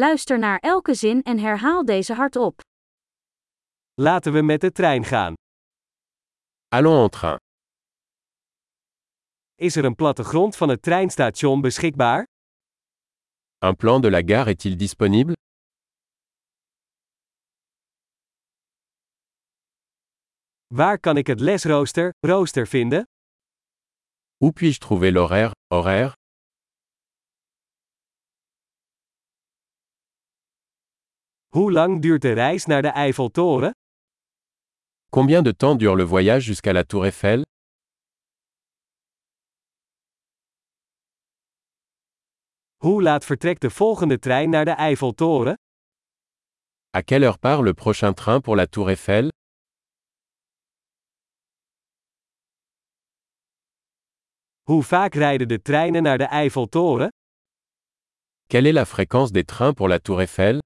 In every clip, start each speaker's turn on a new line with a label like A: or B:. A: Luister naar elke zin en herhaal deze hardop.
B: Laten we met de trein gaan.
C: Allons en train.
B: Is er een plattegrond van het treinstation beschikbaar?
C: Un plan de la gare est-il disponible
B: Waar kan ik het lesrooster, rooster vinden?
C: Où puis-je trouver l'horaire, horaire
B: Hoe lang duurt de reis naar de Eiffeltoren?
C: Combien de temps dure le voyage jusqu'à la Tour Eiffel
B: Hoe laat vertrekt de volgende trein naar de Eiffeltoren?
C: À quelle heure part le prochain train pour la Tour Eiffel
B: Hoe vaak rijden de treinen naar de Eiffeltoren?
C: Quelle est la fréquence des trains pour la Tour Eiffel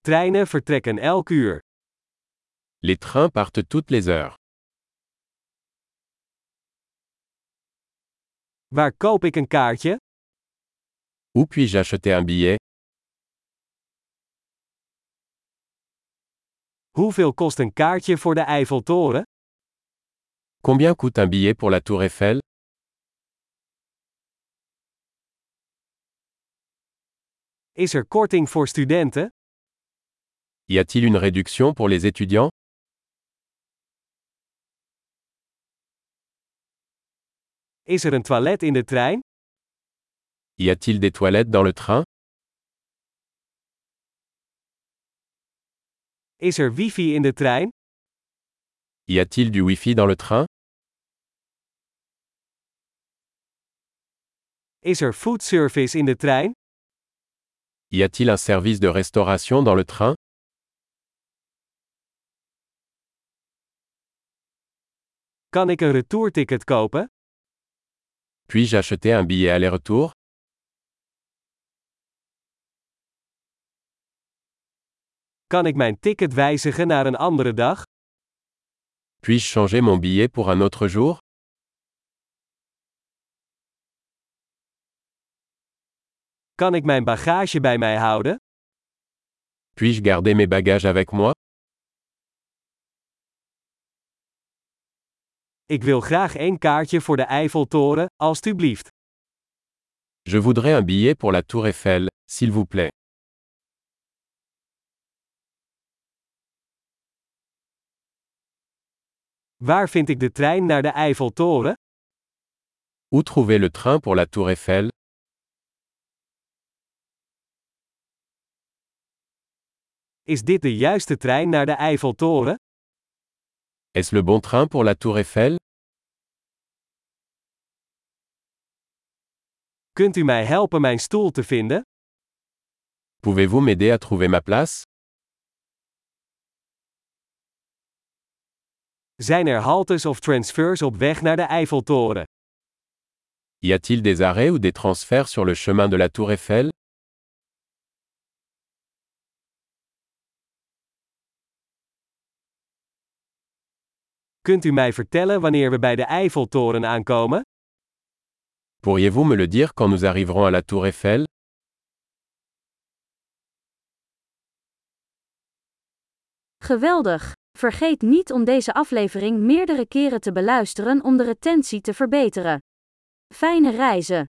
B: Treinen vertrekken elk uur.
C: Les trains partent toutes les heures.
B: Waar koop ik een kaartje?
C: Où puis-je acheter un billet
B: Hoeveel kost een kaartje voor de Eiffeltoren?
C: Combien coûte un billet pour la Tour Eiffel
B: Is er korting voor studenten?
C: Y a-t-il une réduction pour les étudiants
B: Is er een toilet in de trein?
C: Y a-t-il des toilettes dans le train
B: Is er wifi in de trein?
C: Y a-t-il du Wi-Fi dans le train
B: Is er foodservice in de trein?
C: Y a-t-il un service de restauration dans le train
B: Kan ik een retourticket kopen?
C: Puis-je acheter un billet aller-retour
B: Kan ik mijn ticket wijzigen naar een andere dag?
C: Puis-je changer mon billet pour un autre jour
B: Kan ik mijn bagage bij mij houden?
C: Puis-je garder mes bagages avec moi
B: Ik wil graag één kaartje voor de Eiffeltoren, alstublieft.
C: Je voudrais un billet pour la Tour Eiffel, s'il vous plaît.
B: Waar vind ik de trein naar de Eiffeltoren?
C: Où trouver le train pour la Tour Eiffel
B: Is dit de juiste trein naar de Eiffeltoren?
C: Est-ce le bon train pour la Tour Eiffel
B: Kunt u mij helpen mijn stoel te vinden?
C: Pouvez-vous m'aider à trouver ma place
B: Zijn er haltes of transfers op weg naar de Eiffeltoren?
C: Y a-t-il des arrêts ou des transferts sur le chemin de la Tour Eiffel
B: Kunt u mij vertellen wanneer we bij de Eiffeltoren aankomen?
C: Pourriez-vous me le dire quand nous arriverons à la Tour Eiffel
A: Geweldig! Vergeet niet om deze aflevering meerdere keren te beluisteren om de retentie te verbeteren. Fijne reizen!